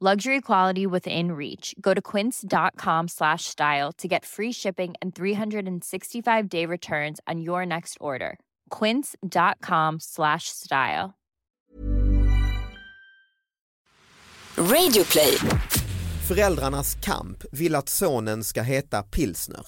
luxury quality within reach go to quince.com slash style to get free shipping and 365 day returns on your next order quince.com slash style Radio Play. Föräldrarnas kamp vill att sonen ska heta pilsner.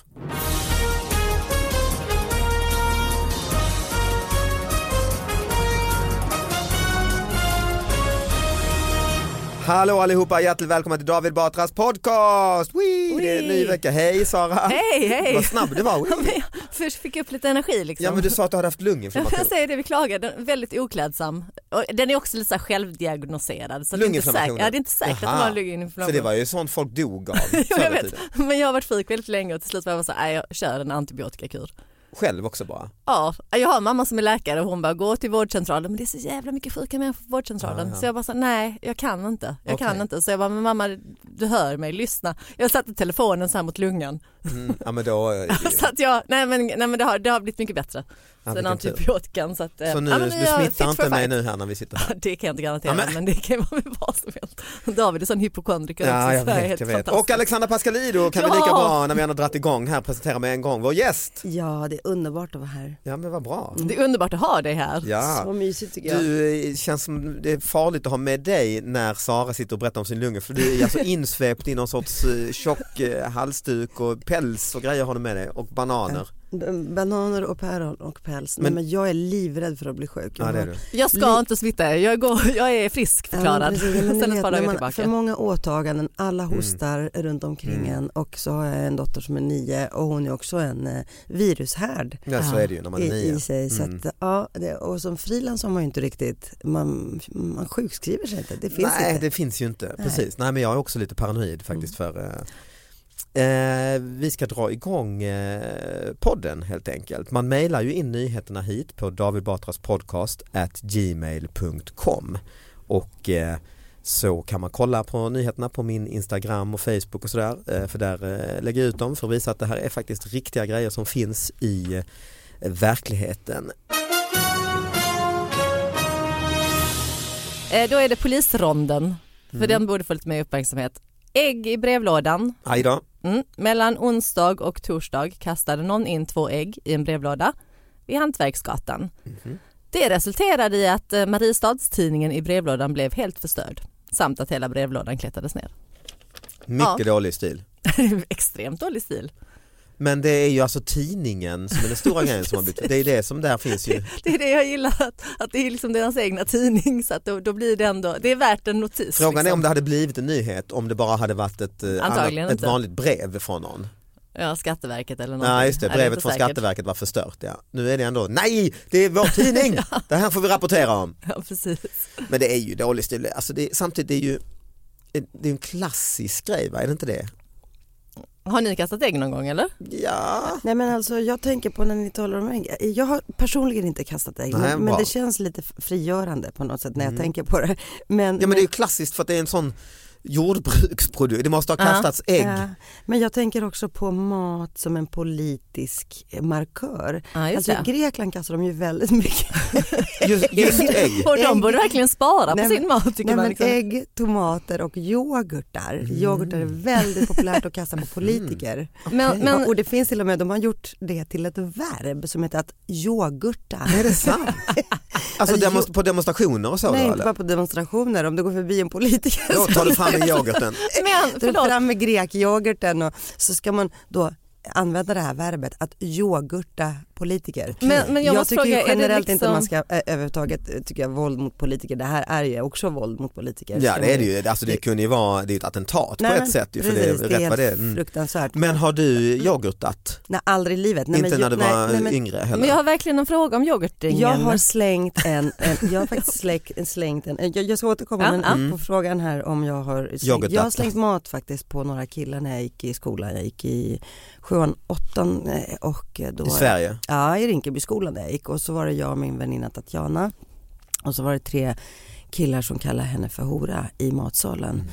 Hallå allihopa, hjärtligt välkomna till David Batras podcast! Wee! Det är en ny vecka, hej Sara! Hej, hej! Vad snabb du var! Wee! Ja, men jag först fick jag upp lite energi liksom. Ja men du sa att du hade haft lunginflammation. Jag säger det, vi klagar. Den är väldigt oklädsam. Och den är också lite så här självdiagnoserad. Så det är inte säkert, Lunginflammation? ja, det är inte säkert att Jaha. det var Så en lunginflammation. det var ju sånt folk dog av Jo, jag förr i vet. tiden. Men jag har varit sjuk väldigt länge och till slut var jag bara så här, nej jag kör en antibiotikakur. Själv också bara. Ja, jag har en mamma som är läkare och hon bara gå till vårdcentralen men det är så jävla mycket sjuka människor på vårdcentralen. Ah, ja. Så jag bara så, här, nej jag kan inte, jag kan Okej. inte. Så jag bara, men mamma du hör mig, lyssna. Jag satte telefonen så här mot lungan. Mm, ja men då, eh, Så att jag, nej men, nej, men det, har, det har blivit mycket bättre Ja, sen vilken tur. antibiotikan. Så, att, eh, så nu, ja, men du jag är fit smittar for inte mig fight. nu här när vi sitter här. Det kan jag inte garantera Ja, men- men... det kan ju vara med vad som helst. David är sån hypokondriker Ja, också, jag så det är vet, helt jag vet. Och fantastiskt. Alexandra Pascalido kan vi Ja! lika bra när vi ändå dragit igång här presentera med en gång vår gäst. Ja, det är underbart att vara här. Ja men vad bra. Det är underbart att ha dig här. Ja. Så mysigt tycker jag. Du eh, känns som det är farligt att ha med dig när Sara sitter och berättar om sin lunga för du är alltså insvept i någon sorts eh, tjock eh, halsduk och päls och grejer har du med dig och bananer. B- Bananer och päron och päls. Men- Men, men jag är livrädd för att bli sjuk. Ja, det är du. Jag ska Li- inte smitta er, jag, går, jag är Ja, friskförklarad. precis. Ja, men ni Sen ett vet, par när dagar man- tillbaka. För många åtaganden, alla Mm. hostar runt omkring en och så har jag en dotter som är nio och hon är också en eh, virushärd Ja så är det ju när man är i, nio. Mm. i sig. Så att, ja, det, och som frilans har man ju inte riktigt, man, man sjukskriver sig inte. Det finns Nej inte. det finns ju inte, precis. Nej men jag är också lite paranoid faktiskt för eh, eh, vi ska dra igång eh, podden helt enkelt. Man mejlar ju in nyheterna hit på David Batras podcast at gmail.com och eh, så kan man kolla på nyheterna på min Instagram och Facebook och sådär. eh, För där eh, lägger jag ut dem för att visa att det här är faktiskt riktiga grejer som finns i eh, verkligheten. Eh, Då är det polisronden, för Mm. den borde få lite mer uppmärksamhet. Ägg i brevlådan. Aj då. Mm. Mellan onsdag och torsdag kastade någon in två ägg i en brevlåda vid Hantverksgatan. Mhm. Det resulterade i att eh, Mariestadstidningen i brevlådan blev helt förstörd samt att hela brevlådan klättrades ner. Mycket Ja. dålig stil. Extremt dålig stil. Men det är ju alltså tidningen som är den stora grejen som har blivit, det är det som där finns ju. Det är det jag gillar, att, att det är liksom deras egna tidning så att då, då blir det ändå, det är värt en notis. Frågan är liksom. om det hade blivit en nyhet om det bara hade varit ett, eh, Antagligen annat, ett inte. vanligt brev från någon. Ja, Skatteverket eller något. Nej just det, brevet från Skatteverket var förstört ja. Nu är det ändå, nej det är vår tidning, det här får vi rapportera om. Ja, precis. Men det är ju dålig stil, alltså det, samtidigt det är ju det är en klassisk grej va, är det inte det? Har ni kastat ägg någon gång eller? Ja, Nej men alltså jag tänker på när ni talar om ägg. Jag har personligen inte kastat ägg Nej, Mm. men, men bra. det känns lite frigörande på något sätt när jag tänker på det. Men, ja men det är ju klassiskt för att det är en sån jordbruksprodukter, det måste ha kastats ägg. Ja. Men äh, jag tänker också på mat som en politisk markör. Ja, just alltså, I det. Grekland kastar de ju väldigt mycket Just, just ägg. Och de borde verkligen spara på Nej, men- sin mat tycker Nej, man. men Liksom. Mm. Ägg, tomater och yoghurtar. Yoghurt är väldigt populärt att kasta på politiker. Men, men, och det finns till och med, de har gjort det till ett verb som heter att yoghurta. Är det sant? Alltså demonst- på demonstrationer och så Nej, då, inte bara eller? på demonstrationer. Om du går förbi en politiker Då så tar du fram en yoghurten. men tar du förlåt, fram med grekyoghurten och så ska man då använda det här verbet att yoghurta politiker. Men- men jag måste tycker ju fråga, är det generellt inte liksom- man ska eh, överhuvudtaget eh, tycker jag, våld mot politiker. Det här är ju också våld mot politiker. Ja Ska det är man det ju, alltså det kunde ju vara, det är ju ett attentat Nej, på men ett sätt ju, för precis, det är det är rätt vad det är. helt Mm. fruktansvärt. Men har du yoghurtat? Nej, aldrig i livet. Nej, inte men, när du nej, var nej, men, yngre heller? men jag har verkligen en fråga om yoghurtdringen. Jag har slängt en, en jag har faktiskt släkt, slängt en, jag, jag ska återkomma Ja, Mm. men ja. på frågan här om jag har slängt, Yoghurt jag har data. slängt mat faktiskt på några killar när jag gick i skolan, jag gick i sjuan, åttan eh, och då I Sverige? Ja, i Rinkebyskolan där jag gick och så var det jag och min väninna Tatjana och så var det tre killar som kallade henne för hora i matsalen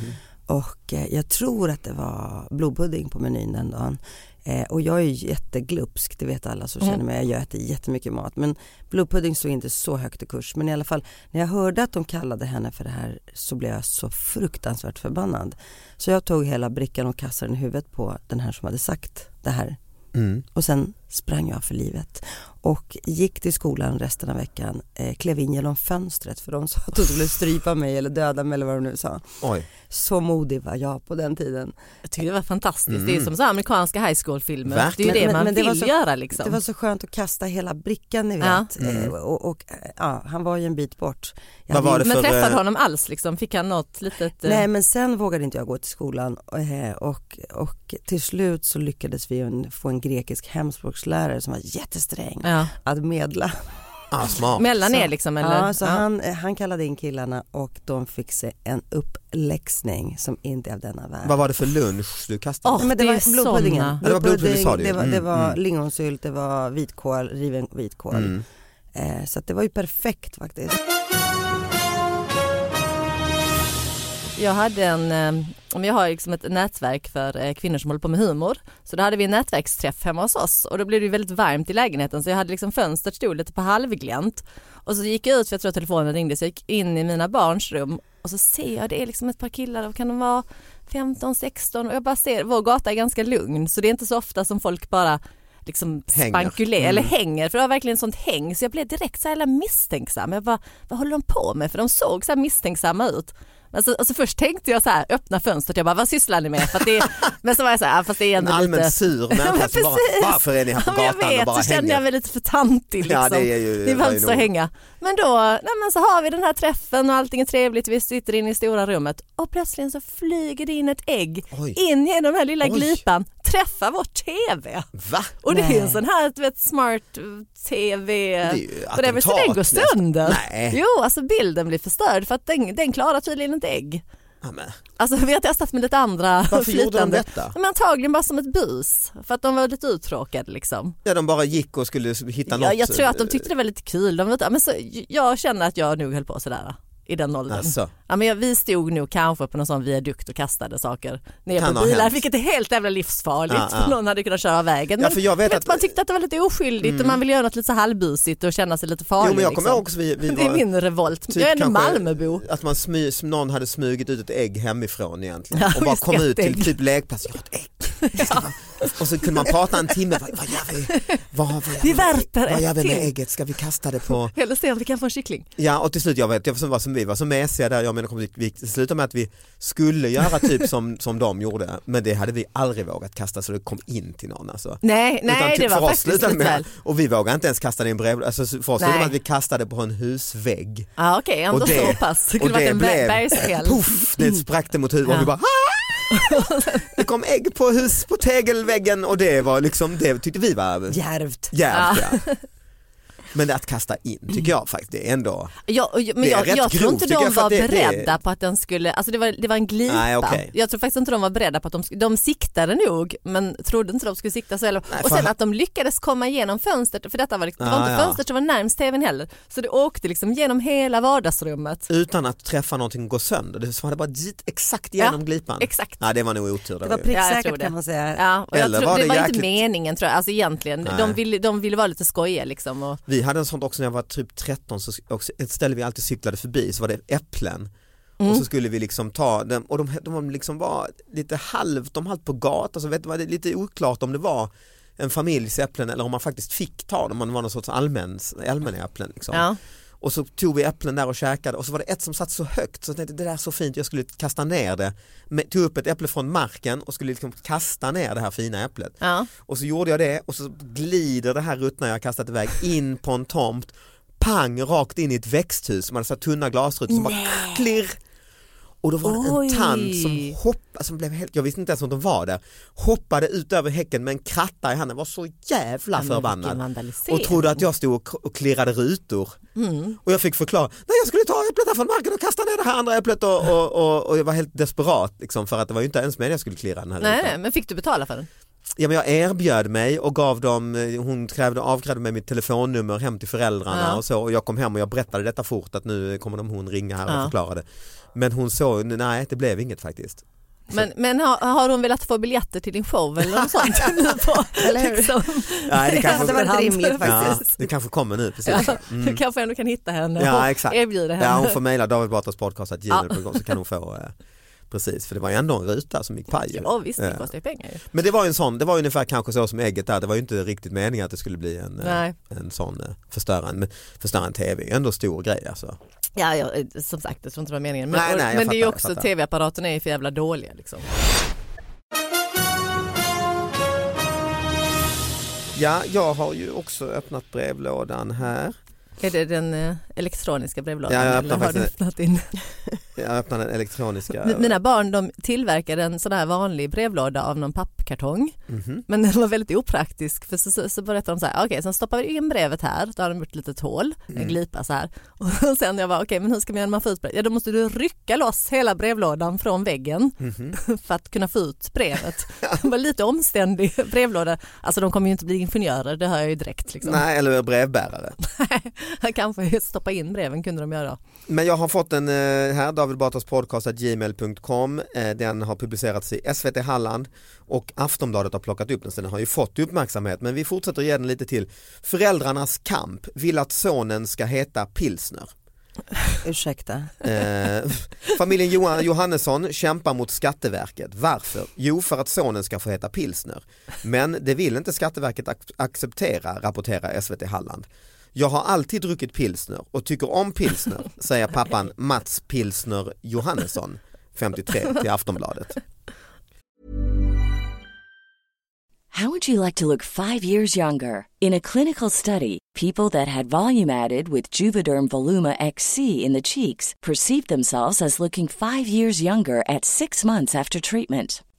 och eh, jag tror att det var blodpudding på menyn den dagen eh, och jag är ju jätteglupsk, det vet alla som känner mig, jag äter jättemycket mat men blodpudding stod inte så högt i kurs men i alla fall när jag hörde att de kallade henne för det här så blev jag så fruktansvärt förbannad så jag tog hela brickan och kastade den i huvudet på den här som hade sagt det här Mm. och sen sprang jag för livet och gick till skolan resten av veckan, eh, klev in genom fönstret för de sa att de skulle strypa mig eller döda mig eller vad de nu sa. Oj. Så modig var jag på den tiden. Jag tycker det var fantastiskt, det Mm. är som så här amerikanska high school-filmer. Det är ju Verkligen. det Men- man men det var vill så- göra liksom. Det var så skönt att kasta hela brickan ni Ja. vet. Eh, och, och, eh, ja, han var ju en bit bort. Jag Mm. Vad hade var det Men för, träffade eh, du honom alls liksom? Fick han något litet? eh, Nej men sen vågade inte jag gå till skolan eh, och, och till slut så lyckades vi en- få en grekisk hemspråkslärare som var jättesträng Ja. att medla. Ah, smart. Mellan Så- er liksom eller? alltså- Ja, så Han, eh, han kallade in killarna och de fick sig en uppläxning som inte är av denna värld. Vad var det för lunch du kastade? Åh, Nej, men det det, är var blodpuddingen. såna. Ja, det var blodpudding, sa du ju. det var, det Mm, var mm. lingonsylt, det var vitkål, riven vitkål. Mm. Eh, så att det var ju perfekt faktiskt. Jag hade en, eh, men jag har liksom ett nätverk för eh, kvinnor som håller på med humor. Så då hade vi en nätverksträff hemma hos oss och då blev det ju väldigt varmt i lägenheten så jag hade liksom fönstret stod lite på halvglänt. Och så gick jag ut för jag tror att telefonen ringde så jag gick in i mina barns rum och så ser jag det är liksom ett par killar, vad kan de vara 15, 16 och jag bara ser, vår gata är ganska lugn så det är inte så ofta som folk bara liksom Hänger. spankulerar eller Mm. hänger för det var verkligen sånt häng så jag blev direkt så här jävla misstänksam. Jag bara, vad håller de på med? För de såg så här misstänksamma ut. Alltså, alltså först tänkte jag så här, öppna fönstret, jag bara vad sysslar ni med? För att det är, men så var jag så här, "Ah, fast det är En ändå lite... allmänt sur människa som bara, Precis. varför är ni här på Ja, men gatan Jag och vet, bara så kände jag hänger? mig lite för tantig liksom. Ja, det är ju- det är var ju fönster att nog- hänga. Men då, nej, men så har vi den här träffen och allting är trevligt, vi sitter inne i stora rummet och plötsligt så flyger det in ett ägg Oj. in genom den här lilla Oj. glipan, träffar vår TV. Va? Och det Nej. är en sån här du vet, smart eh, TV, är ju och det är väl så den går attentat nästan. sönder. Nej. Jo, alltså bilden blir förstörd för att den, den klarar tydligen inte ägg. Ja, men. Alltså vi har testat med lite andra Varför gjorde de flytande. detta? Men antagligen bara som ett bus, för att de var lite uttråkade liksom. Ja, de bara gick och skulle hitta Ja, något. eh, jag tror att de tyckte det var lite kul. De, var- men så, jag känner att jag nog höll på sådär i den åldern. Alltså. Ja, men jag, vi stod nog kanske på någon sån viadukt och kastade saker ner Kan på ha bilar, hänt. vilket är helt jävla livsfarligt. Ja, ja. för Någon hade kunnat köra av vägen. Ja, för jag vet att- Mm. man tyckte att det var lite oskyldigt och man ville göra något lite så halvbusigt och känna sig lite farlig. Jo men jag kommer liksom. ihåg också vi, vi Det är var- min revolt. Typ jag är en kanske Malmöbo. Att man smy, som någon hade smugit ut ett ägg hemifrån egentligen Ja, och bara just kom ett ut till ägg. typ lekplatsen, jag har ett ägg. Och så kunde man prata en timme, vad, vad gör vi? Vad, vad gör Vi värper Vad ett gör vi med till. ägget? Ska vi kasta det på? Eller se om vi kan få en kyckling. Ja och till slut, jag vet, jag som var som vi var så mesiga där, jag menar kom dit, vi slutade med att vi skulle göra typ som, som de gjorde men det hade vi aldrig vågat kasta så det kom in till någon alltså. Nej, Utan nej typ det för var oss faktiskt slutade lite med- väl. Och vi vågade inte ens kasta det i en brevlåda, alltså, för oss slutade Nej. med att vi kastade på en husvägg. Ja, Okej, ändå Och det- så pass. Det och kunde varit det en blev- blev... bergsfjäll. Puff, det sprack det mot huvudet och vi Ja. bara "Ah!" Det kom ägg på hus på tegelväggen och det var liksom det tyckte vi var Djärvt. djärvt. Ja. Men att kasta in tycker jag faktiskt det är ändå. Ja, och- men Det är jag, rätt jag tror inte grovt, tycker de jag, för var att det- det är- beredda på att den skulle, alltså det var, det var en glipa. Nej, okej. Jag tror faktiskt inte de var beredda på att de skulle, de siktade nog men trodde inte de skulle sikta så heller. Nej, och för sen han- att de lyckades komma igenom fönstret, för detta var, liksom- det var Ah, inte ja. fönstret som var närmst tvn heller. Så det åkte liksom genom hela vardagsrummet. Utan att träffa någonting gå sönder, det var det bara dit, exakt genom Ja, glipan. exakt. Ja, det var nog otur. Det var där ju. Ja, pricksäkert jag tror det. kan man säga. Ja, och Eller jag tror, var det det var inte jäkligt- meningen tror jag, alltså egentligen. Nej. De ville, de ville vara lite skojiga liksom. Och, Vi hade en sån också när jag var typ 13, så också, ett ställe vi alltid cyklade förbi så var det äpplen och så skulle vi liksom ta dem och de, de liksom var lite halvt, de halvt på gatan, så vet, var det lite oklart om det var en familjs äpplen eller om man faktiskt fick ta dem, om det var någon sorts allmän, allmänna äpplen. Liksom. ja. Och så tog vi äpplen där och käkade och så var det ett som satt så högt så jag tänkte det där är så fint, jag skulle kasta ner det. Men, tog upp ett äpple från marken och skulle liksom kasta ner det här fina äpplet. Ja. Och så gjorde jag det och så glider det här ruttna jag har kastat iväg in på en tomt, pang rakt in i ett växthus som hade så här tunna glasrutor som bara klirr. Och då var det Oj. en tant som hoppade, som blev helt, jag visste inte ens om de var där, hoppade ut över häcken med en kratta i handen, var så jävla men vilken förbannad. vandalisering. Och trodde att jag stod och, och klirrade rutor. Mm. Och jag fick förklara, nej jag skulle ta äpplet här från marken och kasta ner det här andra äpplet och, och, och, och jag var helt desperat liksom, för att det var ju inte ens meningen jag skulle klirra den här Nej, rutan. nej, men fick du betala för den? Ja, men jag erbjöd mig och gav dem, eh, hon krävde, avkrävde mig mitt telefonnummer hem till föräldrarna Ja. och så och jag kom hem och jag berättade detta fort att nu kommer de hon ringa här och Ja. förklara det. Men hon såg, nej det blev inget faktiskt. Men, men har, har hon velat få biljetter till din show eller något sånt? nu på, Eller hur? liksom, Alltså, Nej, det kanske- hade varit rimligt Ja, faktiskt. det kanske kommer nu precis. Ja, Du kanske ändå kan hitta henne Mm. Ja och exakt. erbjuda henne. Ja, hon får mejla David Batras podcast att så kan hon få eh, Precis, för det var ju ändå en ruta som gick paj. ju. Ja, visst, det Eh, kostar ju pengar ju. Men det var ju en sån, det var ju ungefär kanske så som ägget där, det var ju inte riktigt meningen att det skulle bli en, eh, Nej. en sån eh, förstörande, men förstörande tv, ändå stor grej alltså. Ja, ja, eh, som sagt, jag tror inte det var meningen. Men, Nej, nej, jag men det är fattar, ju jag också, fattar. tv-apparaten är ju för jävla dåliga liksom. Ja, jag har ju också öppnat brevlådan här. Är det den eh, elektroniska brevlådan Ja, jag eller öppnar har du faktiskt- öppnat in? Jag öppnar den elektroniska. Mi- Mina barn de tillverkade en sån här vanlig brevlåda av någon pappkartong. Mhm. Men den var väldigt opraktisk för så, så, så berättade de så här, okej sen stoppar vi in brevet här, då har de gjort ett litet hål, Mm. en glipa så här. Och sen jag var okej men hur ska man göra få ut brevet? Ja då måste du rycka loss hela brevlådan från väggen Mhm. för att kunna få ut brevet. Det var lite omständig brevlåda, alltså de kommer ju inte bli ingenjörer, det hör jag ju direkt liksom. Nej, eller brevbärare. Kanske stoppa in breven kunde de göra. Men jag har fått en eh, här, David Batras podcast gmail.com. Eh, Den har publicerats i SVT Halland och Aftonbladet har plockat upp den så den har ju fått uppmärksamhet. Men vi fortsätter ge den lite till. Föräldrarnas kamp vill att sonen ska heta pilsner. Ursäkta. Eh, familjen Johan Johannesson kämpar mot Skatteverket. Varför? Jo, för att sonen ska få heta pilsner. Men det vill inte Skatteverket ac- acceptera, rapporterar SVT Halland. Jag har alltid druckit pilsner och tycker om pilsner, säger pappan Mats Pilsner Johannesson, 53, till Aftonbladet. How would you like to look five years younger? In a clinical study, people that had volume added with Juvederm Voluma XC in the cheeks perceived themselves as looking five years younger at six months after treatment.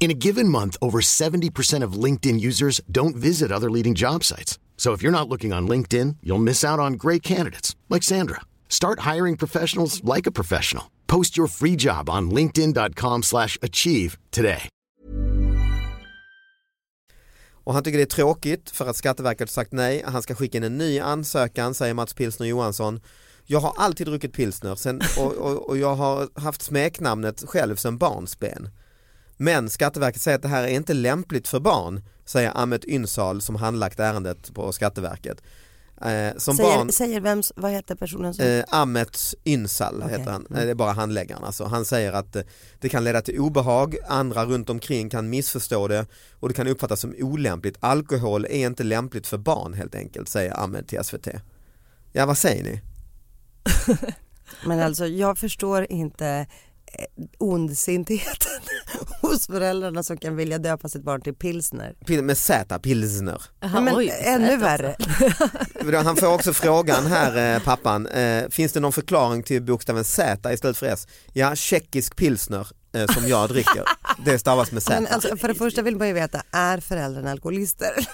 In a given month, over 70% of LinkedIn users don't visit other leading job sites. So if you're not looking on LinkedIn, you'll miss out on great candidates like Sandra. Start hiring professionals like a professional. Post your free job on linkedin.com/achieve slash achieve today. Och han tycker det är tråkigt för att Skatteverket har sagt nej. Han ska skicka in en ny ansökan säger Mats Pilsner Johansson. Jag har alltid druckit pilsner sen, och, och, och jag har haft smeknamnet själv sedan barnsben. Men Skatteverket säger att det här är inte lämpligt för barn, säger Ahmet Ünsal som handlagt ärendet på Skatteverket. Eh, som säger, barn, säger vems, vad heter personen? Som... eh, Ahmet Ünsal Okej. heter han, Mm. Eh, det är bara handläggaren alltså. Han säger att eh, det kan leda till obehag, andra runt omkring kan missförstå det och det kan uppfattas som olämpligt. Alkohol är inte lämpligt för barn helt enkelt, säger Ahmet till SVT. Ja vad säger ni? Men alltså jag förstår inte eh, ondsintheten hos föräldrarna som kan vilja döpa sitt barn till pilsner. Pil- med Z, pilsner. Nej, men ännu värre. Han får också frågan här eh, pappan, eh, finns det någon förklaring till bokstaven Z istället för S? Ja, tjeckisk pilsner eh, som jag dricker, det stavas med Z. Men alltså, för det första vill man ju veta, är föräldrarna alkoholister?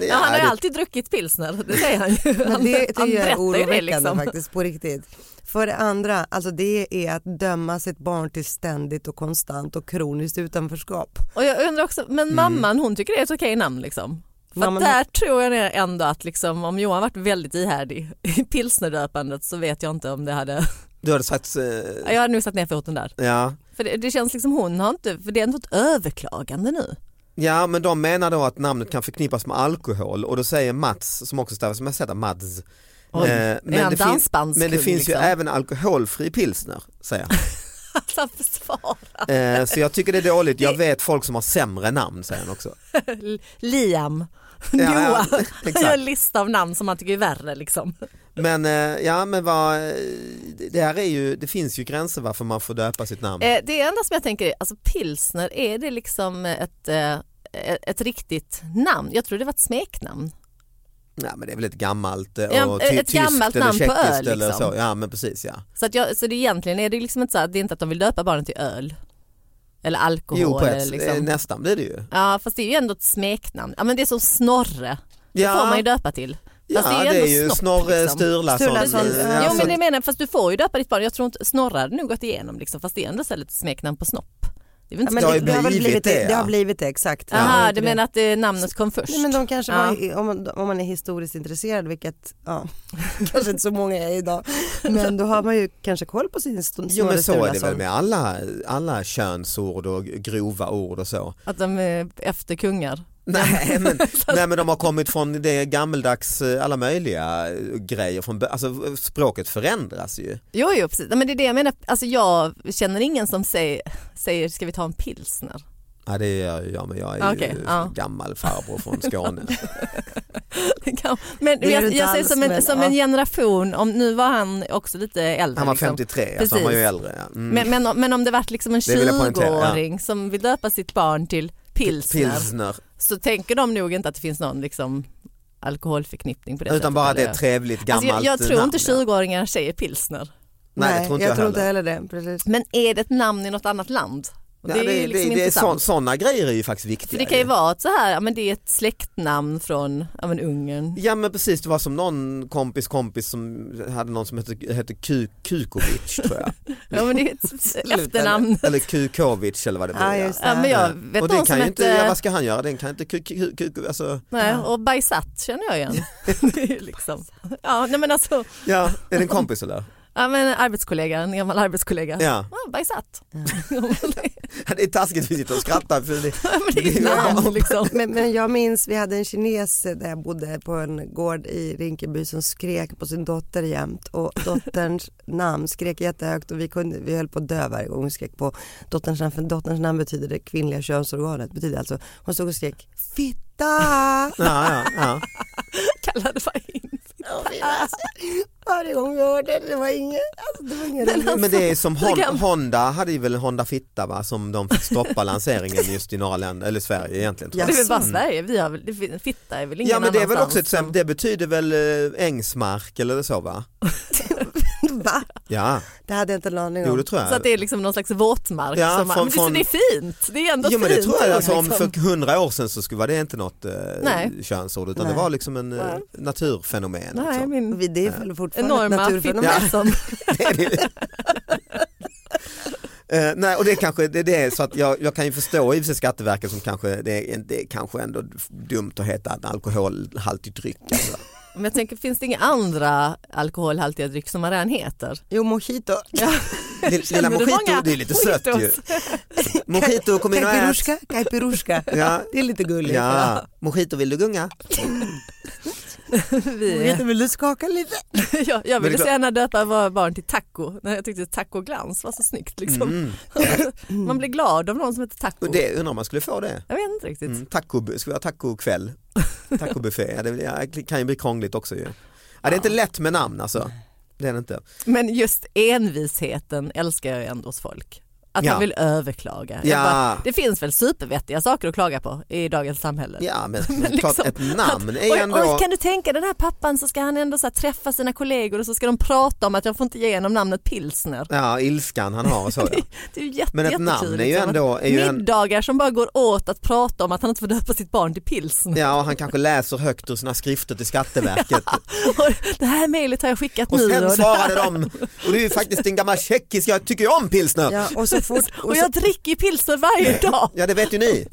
Ja, han har ju alltid druckit pilsner, det säger han ju. Men det tycker han jag är berättar ju liksom. oroväckande faktiskt på riktigt. För det andra, alltså det är att döma sitt barn till ständigt och konstant och kroniskt utanförskap. Och jag undrar också, Mm. men mamman hon tycker det är ett okej namn liksom? För Mamman- att där tror jag ändå att liksom, om Johan varit väldigt ihärdig i pilsnerdöpandet så vet jag inte om det hade, Du hade sagt, eh, jag hade nog satt ner foten där. ja. För det, det känns liksom hon har inte, för det är ändå ett överklagande nu. ja men de menar då att namnet kan förknippas med alkohol och då säger Mats, som också stavas med Z, Mads. Oj, Eh, är han det fin- dansbandskung, men det finns liksom? ju även alkoholfri pilsner, säger han. Alltså försvara. Eh, så jag tycker det är dåligt, jag vet folk som har sämre namn, säger han också. Liam, Ja, ja, Noah, han exakt. gör en lista av namn som han tycker är värre liksom. Men eh, ja, men vad, eh, det här är ju, det finns ju gränser varför man får döpa sitt namn. Eh, Det enda som jag tänker är, alltså pilsner, är det liksom ett, eh, ett riktigt namn? Jag tror det var ett smeknamn. Nej men det är väl ett gammalt eh, och Ja, ty- ett gammalt eller namn på tjeckiskt öl, eller liksom. så. Ja men precis ja. Så, att jag, så det egentligen är det liksom inte så att det är inte att de vill döpa barnen till öl eller alkohol. jo på eller ett, eh, liksom. nästan blir det ju. Ja fast det är ju ändå ett smeknamn. Ja men det är som Snorre. Det Ja. får man ju döpa till. Fast Ja, det ändå liksom. är ju Snorre Sturlason. eh, Sturlason. Precis. Ja, Jo så men det att- menar jag, fast du får ju döpa ditt barn. Jag tror inte, Snorre hade nog gått igenom liksom. Fast det är ändå så här lite smeknamn på snopp. Det är väl Ja, inte men så- det, det, har väl blivit det, det har blivit det exakt. Jaha, du menar att eh, namnet kom först? Nej, men de kanske Ja. var, om, man- om man är historiskt intresserad, vilket ja, kanske inte så många är idag, men då har man ju kanske koll på sin st- Jo men så är det väl Snorre med alla, alla könsord och grova ord och så. Att de är efter kungar. Nej men, nej men de har kommit från det gammeldags eh, alla möjliga eh, grejer, från, bö- alltså språket förändras ju. Jo, jo precis. Nej, Men det är det jag menar. Alltså, jag känner ingen som säger, säger ska vi ta en pilsner? Ja det gör jag men jag är Okej, ju ja. gammal farbror från Skåne. Det kan- Men Det är jag, du inte jag säger alls, som, en, men, som ja. en generation, om, nu var han också lite äldre. Han var liksom. 53, alltså han var ju Precis. äldre. Ja. Mm. Men, men, om- men om det vart liksom en Det vill jag poängtera, ja. 20-åring som vill döpa sitt barn till pilsner, Pilsner. så tänker de nog inte att det finns någon liksom, alkoholförknippning på det Utan sättet. bara att det är eller? ett trevligt Alltså, gammalt jag, jag tror namn, inte ja. 20-åringar säger pilsner. Nej, det tror inte jag, heller. heller det. Precis. Men är det ett namn i något annat land? Och Nej, det, liksom det, det är intressant. så, sådana grejer är ju faktiskt För viktiga. det kan ju ju. vara att så här, ja, men det är ett släktnamn från ja, men Ungern. Ja men precis, det var som någon kompis kompis som hade någon som hette, hette Ku- Kukovic tror jag. Ja, men det är ett Eller- efternamn. Eller Kukovic eller vad det blir. Ja, just det. Ja, men jag vet Och den kan någon som ju inte, ja, hette... vad ska han göra? Den kan inte ku, ku, ku, ku, alltså, Nej, och Bajsat känner jag igen. Det är ju liksom. Ja, nej, men alltså, ja, är det en kompis eller? ja, men en arbetskollega, en gammal arbetskollega. Ja. Ja, bajsat. Ja. Det är taskigt vi sitter och skrattar för det, men det är ett namn liksom. Men, men jag minns, vi hade en kines där jag bodde på en gård i Rinkeby som skrek på sin dotter jämt och dotterns namn skrek jättehögt och vi, kunde, vi höll på att dö varje gång hon skrek på dotterns namn för dotterns namn betyder det kvinnliga könsorganet betyder alltså, hon stod och skrek fitta ja, ja, ja. Kallade bara in. varje gång vi hörde det, det var ingen, alltså, det var ingen Men det är som Hon, kan- Honda hade ju väl Honda Fitta va, som de fick stoppa lanseringen just i några länder, eller Sverige egentligen. Tror Det jag. är väl bara Sverige, vi har väl, det fin- fitta är väl ingen Ja men det är väl annanstans också ett som- exempel, det betyder väl eh, ängsmark eller så va? Va? Ja, Det hade jag inte en aning om. jo det tror Så att jag. det är liksom någon slags våtmark. Ja, som man, från- men från... från- det är fint, det är ändå Jo men fint. det tror jag, alltså, om liksom. för hundra år sedan så skulle var det inte något eh, Nej. könsord utan Nej. det var liksom en eh, naturfenomen. Nej, liksom. min Vi- Det är väl fortfarande ett enorma naturfenomen. fittor som... Det är det. Eh, nej, och det kanske det, det är så att jag, jag kan ju förstå i och för sig Skatteverket som kanske, det är, det är kanske ändå dumt att heta en alkoholhaltig dryck. Alltså. Men jag tänker, finns det inga andra alkoholhaltiga dryck som man redan heter? Jo, mojito. Ja. Lill- Lilla mojito, det är lite sött ju. Mojito, kom in och ät. Kajpirushka, kajpirushka. Ja. Det är lite gulligt. Ja, mojito vill du gunga? Vi, Mojito, vill du skaka lite? jag, Men jag det är ville klart- senare döpa våra barn till taco. När jag tyckte tacoglans var så snyggt. Liksom. man blir glad av någon som heter taco. Mm. Och det undrar om man skulle få det. Jag vet inte riktigt. Mm, taco, ska vi ha tacokväll? Tacobuffé, ja, det ja, kan ju bli krångligt också ju. Ja, det är inte lätt med namn alltså. Det är det inte. Men just envisheten älskar jag ju ändå hos folk. Att Ja. man vill överklaga. Jag Ja. Bara, det finns väl supervettiga saker att klaga på i dagens samhälle. Ja, men, Men klart liksom ett namn Oj, är ändå... oj, kan du tänka den här pappan så ska han ändå så här träffa sina kollegor och så ska de prata om att jag får inte ge honom namnet pilsner. Ja, ilskan han har och så. Ja. Det är ju jätte, Men ett jättekul, namn är ju liksom. ändå- är ju en- Middagar som bara går åt att prata om att han inte får döpa sitt barn till pilsner. ja, och han kanske läser högt ur sina skrifter till Skatteverket. Och det här mejlet har jag skickat Och nu. sen det svarade här- de, och det är ju faktiskt en gammal tjeckisk, jag tycker ju om pilsner. Ja, och så fort... Och jag dricker ju pilsner varje dag. Ja det vet ju ni.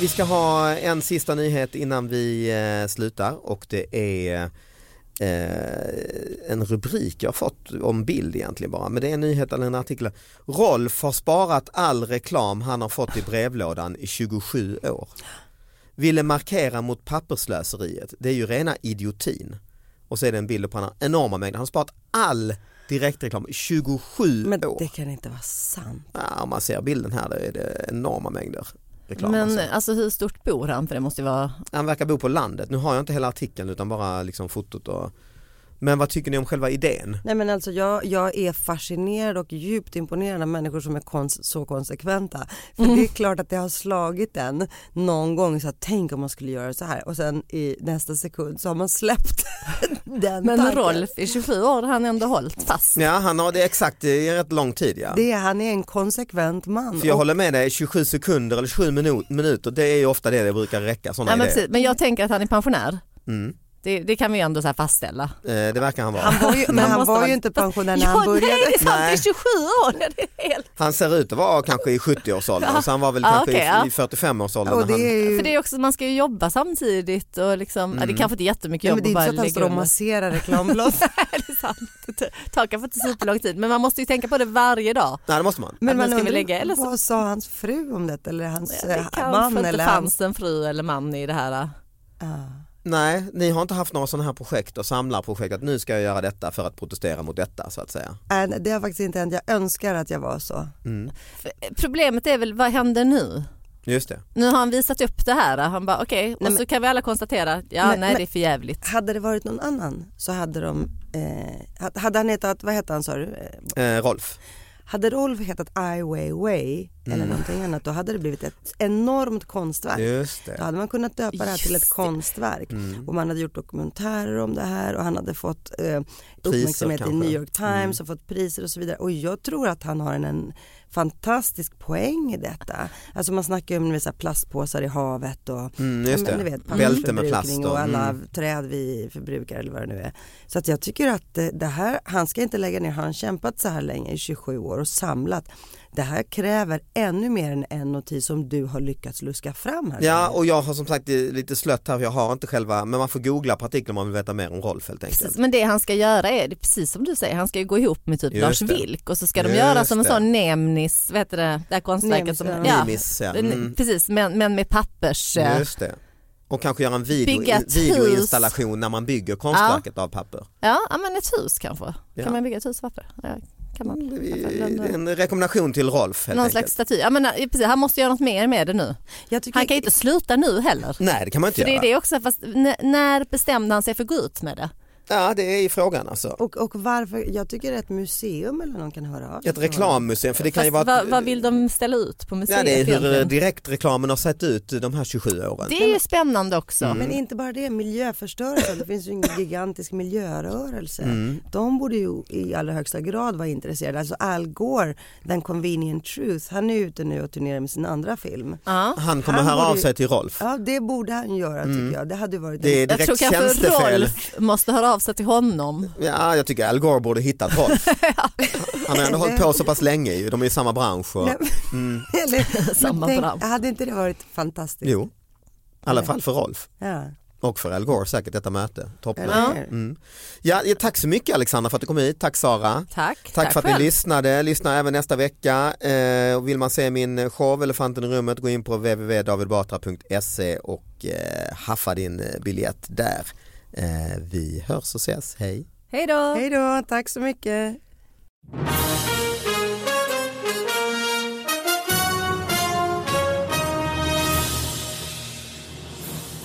Vi ska ha en sista nyhet innan vi eh, slutar och det är eh, en rubrik jag har fått om bild egentligen bara men det är en nyhet eller en artikel. Rolf har sparat all reklam han har fått i brevlådan i 27 år. Ville markera mot papperslöseriet, det är ju rena idiotin. Och så är det en bild på han har enorma mängder, han har sparat all direktreklam i 27 Men år. det kan inte vara sant. Ja, om man ser bilden här, då är det enorma mängder reklam. Men eh, alltså. alltså hur stort bor han? För det måste ju vara Han verkar bo på landet. Nu har jag inte hela artikeln utan bara liksom fotot och men vad tycker ni om själva idén? Nej men alltså jag, jag är fascinerad och djupt imponerad av människor som är kons- så konsekventa. För Mm. det är klart att det har slagit en någon gång så att tänk om man skulle göra så här och sen i nästa sekund så har man släppt den Men tanken. Rolf i 27 år har han ändå hållit fast. Ja, han har det exakt i rätt lång tid ja. Det, är- han är en konsekvent man. För jag Och- håller med dig, 27 sekunder eller 27 minu- minuter, det är ju ofta det det brukar räcka sådana Ja, men, idéer. precis. men jag tänker att han är pensionär. Mm. Det, det kan vi ändå så här fastställa. Eh, det verkar han vara. Han var ju, men Man han måste var vara- ju inte pensionär när ja, han började. Nej, det är sant, det Nej. är 27 år. Ja, Det är helt... Han ser ut att vara kanske i 70-årsåldern, så han var väl Ja, kanske okej, i- ja. i 45-årsåldern. Och när det han... är ju, För det är också, man ska ju jobba samtidigt och liksom, Mm. ja, det kanske inte är jättemycket nej, jobb men det är att bara inte så att han lägga står och masserar under. reklamblad. Nej, det är sant. Det tar kanske inte superlång tid, men man måste ju tänka på det varje dag. Nej, det måste man. Men man ska vi undrar, lägga, eller så- vad sa hans fru om det eller hans Det eh, kanske man inte eller hans... fanns en fru eller man i det här. Nej, ni har inte haft några sådana här projekt och samlarprojekt att nu ska jag göra detta för att protestera mot detta så att säga. Äh, Nej, det har faktiskt inte hänt, jag önskar att jag var så. Problemet är väl, vad händer nu? Just det. Nu har han visat upp det här. Han bara okej, och Nej, så kan vi alla konstatera, ja Men- nej men- det är för jävligt. Hade det varit någon annan så hade de, eh, hade- hade han hetat, vad hette han sa du? Eh, Eh, Rolf. Hade Rolf hetat Ai Weiwei eller någonting annat då hade det blivit ett enormt konstverk. Just det. Mm. Då hade man kunnat döpa det här till ett Just det. konstverk och man hade gjort dokumentärer om det här och han hade fått eh, Priser uppmärksamhet i kanske. Mm. New York Times och fått priser och så vidare och jag tror att han har en, en fantastisk poäng i detta. Alltså man snackar ju om ni vet, så här plastpåsar i havet och Mm, just ja, men det. ni vet, Bälte med plast pappersförbrukning och- och alla mm. träd vi förbrukar eller vad det nu är. Så att jag tycker att eh, det här, han ska inte lägga ner, han har kämpat så här länge i 27 år och samlat. Det här kräver ännu mer än en notis som du har lyckats luska fram här. Ja och jag har som sagt eh, lite slött här för jag har inte själva, men man får googla på artikeln om man vill veta mer om Rolf helt enkelt. Precis, men det han ska göra är, det är precis som du säger, han ska ju gå ihop med typ Just Lars det. Vilk och så ska de Just göra som en det. sån Nemnis, vad heter det, det här konstverket Nemnis, som, ja. Nemis, ja. Den- Mm. precis men, men med pappers, eh, Just det. Och kanske göra en video, Bygga ett videoinstallation när man bygger konstverket av papper. ja ja, men ett hus kanske, Ja. kan man bygga ett hus av papper? Ja, kan man. Eh, En rekommendation till Rolf helt Någon enkelt. slags staty, ja, men, eh, precis, han måste göra något mer med det nu. Jag tycker, Han kan ju inte sluta nu heller. Nej det kan man inte För det göra. är det också, fast n- när bestämde han sig för att gå ut med det? Ja det är i frågan alltså. och, och varför, jag tycker ett museum eller någon kan höra av sig till Ett honom. reklammuseum för det kan ju Fast, vara vad, vad vill de ställa ut på Ja, museet det är hur eh, egentligen? direktreklamen har sett ut de här 27 åren. Det är ju spännande också. Mm, Men inte bara det, miljöförstörelsen, det finns ju en gigantisk miljörörelse. Mm. De borde ju i allra högsta grad vara intresserade. Alltså Al Gore, den convenient truth, han är ute nu och turnerar med sin andra film. Ja. Han kommer Han höra av borde ju- sig till Rolf. Ja det borde han göra tycker jag, det hade varit Mm. Det är en... Jag tror direkt kanske tjänstefel. Rolf måste höra av sig till honom. Ja, jag tycker Al Gore borde hitta ett håll. Han har ändå hållit på så pass länge ju, de är i samma bransch. Och, Nej, mm. Eller, Samma men tänk, bransch. Hade inte det varit fantastiskt? Jo, i alla fall för Rolf. Ja. Och för Al Gore säkert detta möte. Toppen. Eller Ja. hur? Mm. Ja, ja, tack så mycket Alexandra för att du kom hit. Tack Sara. Tack. Tack, för att ni lyssnade. Lyssna även nästa vecka. Eh, och vill man se min show Elefanten i rummet gå in på www.davidbatra.se och eh, haffa din eh, biljett där. Eh, vi hörs och ses. Hej. Hej då! Hej då, tack så mycket.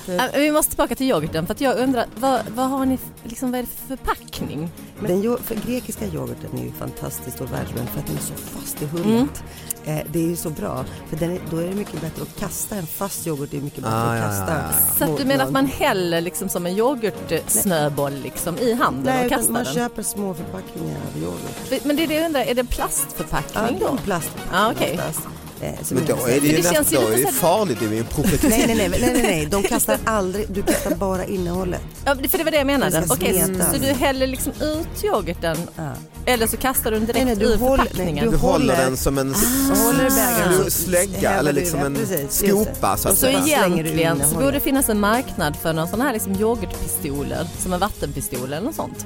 Äh, Vi måste tillbaka till yoghurten för att jag undrar, vad, vad har ni, f- liksom, vad är det för förpackning? Den yo- för grekiska yoghurten är ju fantastiskt och världsberömd för att den är så fast i hullet. Mm. Eh, det är ju så bra, för den är, då är det mycket bättre att kasta. En fast yoghurt är mycket bättre Ah, att ja, kasta. ja, ja, Så att mot du menar någon. att man häller liksom som en yoghurtsnöboll liksom i handen Nej, och utan kastar man den? köper små förpackningar av yoghurt. Men det är det jag undrar, är det en Ja, plastförpackning det är då? en plastförpackning Ja, okej. oftast. Eh, som Men då är- är det det ju känns nästa, då ju lite är det ju så här- farligt, det är ju en profetia. Nej, nej, nej, nej, nej, nej, de kastar aldrig, du kastar bara innehållet. Ja, för det var det jag menade. Den ska Okej, smetas. så, så du häller liksom ut yoghurten eller så kastar du den direkt Nej, nej, du ur håller- förpackningen? nej, Du håller håller- den som en Jag håller i bägaren slu- så slägga häller eller du- liksom ja, en precis, just det. skopa. Så att Så säga. bara slänger du egentligen så innehållet. borde det finnas en marknad för någon sån här liksom yoghurtpistoler, som en vattenpistol eller något sånt.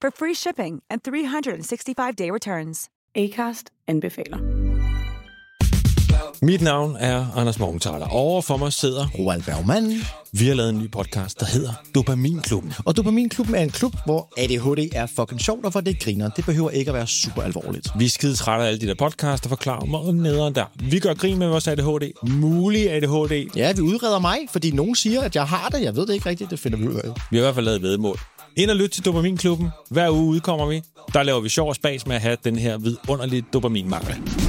for free shipping and 365-day returns. Acast anbefaler. Mit navn er Anders Morgenthaler. Over for mig sidder Roald Bergmann. Vi har lavet en ny podcast, der hedder Dopaminklubben. Og Dopaminklubben er en klub, hvor ADHD er fucking sjovt, og hvor det griner. Det behøver ikke at være super alvorligt. Vi er skide trætte af alle de der podcasts, der forklarer mig og nederen der. Vi gør grin med vores ADHD. Mulig ADHD. Ja, vi udreder mig, fordi nogen siger, at jeg har det. Jeg ved det ikke rigtigt, det finder vi ud af. Vi har i hvert fald lavet vedmål. Ind og lyt til Dopaminklubben. Hver uge udkommer vi. Der laver vi sjov og spas med at have den her vidunderlige dopaminmangel.